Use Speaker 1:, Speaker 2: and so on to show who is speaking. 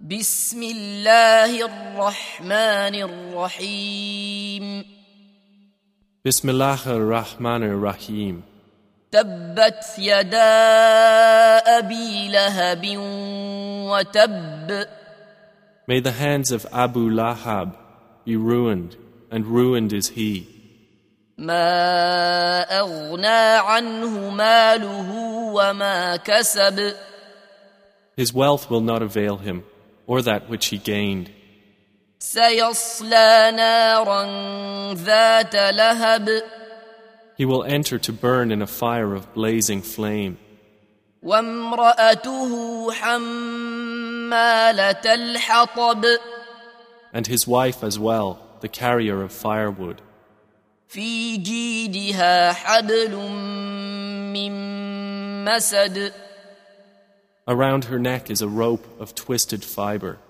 Speaker 1: بسم الله الرحمن الرحيم
Speaker 2: Bismillah ar-Rahman ar-Rahim.
Speaker 1: تبت يدا ابي لهب وتب
Speaker 2: May the hands of Abu Lahab be ruined, and ruined is he.
Speaker 1: ما اغنى عنه ماله وما كسب
Speaker 2: His wealth will not avail him, or that which he gained.
Speaker 1: سيصلى نارا ذات لهب
Speaker 2: He will enter to burn in a fire of blazing flame,
Speaker 1: وامراته حماله الحطب
Speaker 2: and his wife as well, the carrier of firewood.
Speaker 1: في جيدها حبل من مسد
Speaker 2: Around her neck is a rope of twisted fiber.